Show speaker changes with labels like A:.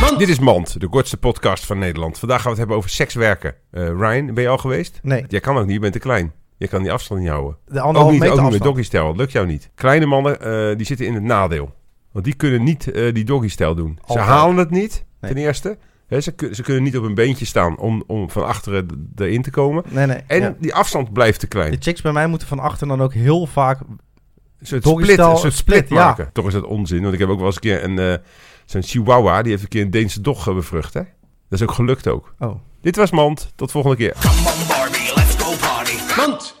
A: is, dit is Mand, de kortste podcast van Nederland. Vandaag gaan we het hebben over sekswerken. Eh Ryan, ben je al geweest?
B: Nee,
A: Jij kan ook niet, je bent te klein. Je kan die afstand niet houden.
B: de
A: Ook
B: anderhalve
A: niet,
B: meter
A: ook niet met
B: afstand.
A: doggystijl, dat lukt jou niet. Kleine mannen, eh, die zitten in het nadeel. Want die kunnen niet eh, die doggystijl doen.
B: Altijd.
A: Ze halen het niet,
B: Nee.
A: ten eerste. Hè, ze, kun- ze kunnen niet op hun beentje staan om, om van achteren d- erin te komen.
B: Nee, nee.
A: En
B: ja.
A: die afstand blijft te klein.
B: De chicks bij mij moeten van achter dan ook heel vaak...
A: Een soort
B: Doggystyle,
A: split, een soort split
B: split, ja.
A: maken. Toch is dat onzin, want ik heb ook wel eens een keer een... eh, Zo'n chihuahua, die heeft een keer een Deense dog eh, bevrucht, hè? Dat is ook gelukt ook.
B: Oh.
A: Dit was Mand, tot volgende keer.
C: Come on Barbie, let's go party.
D: Mand,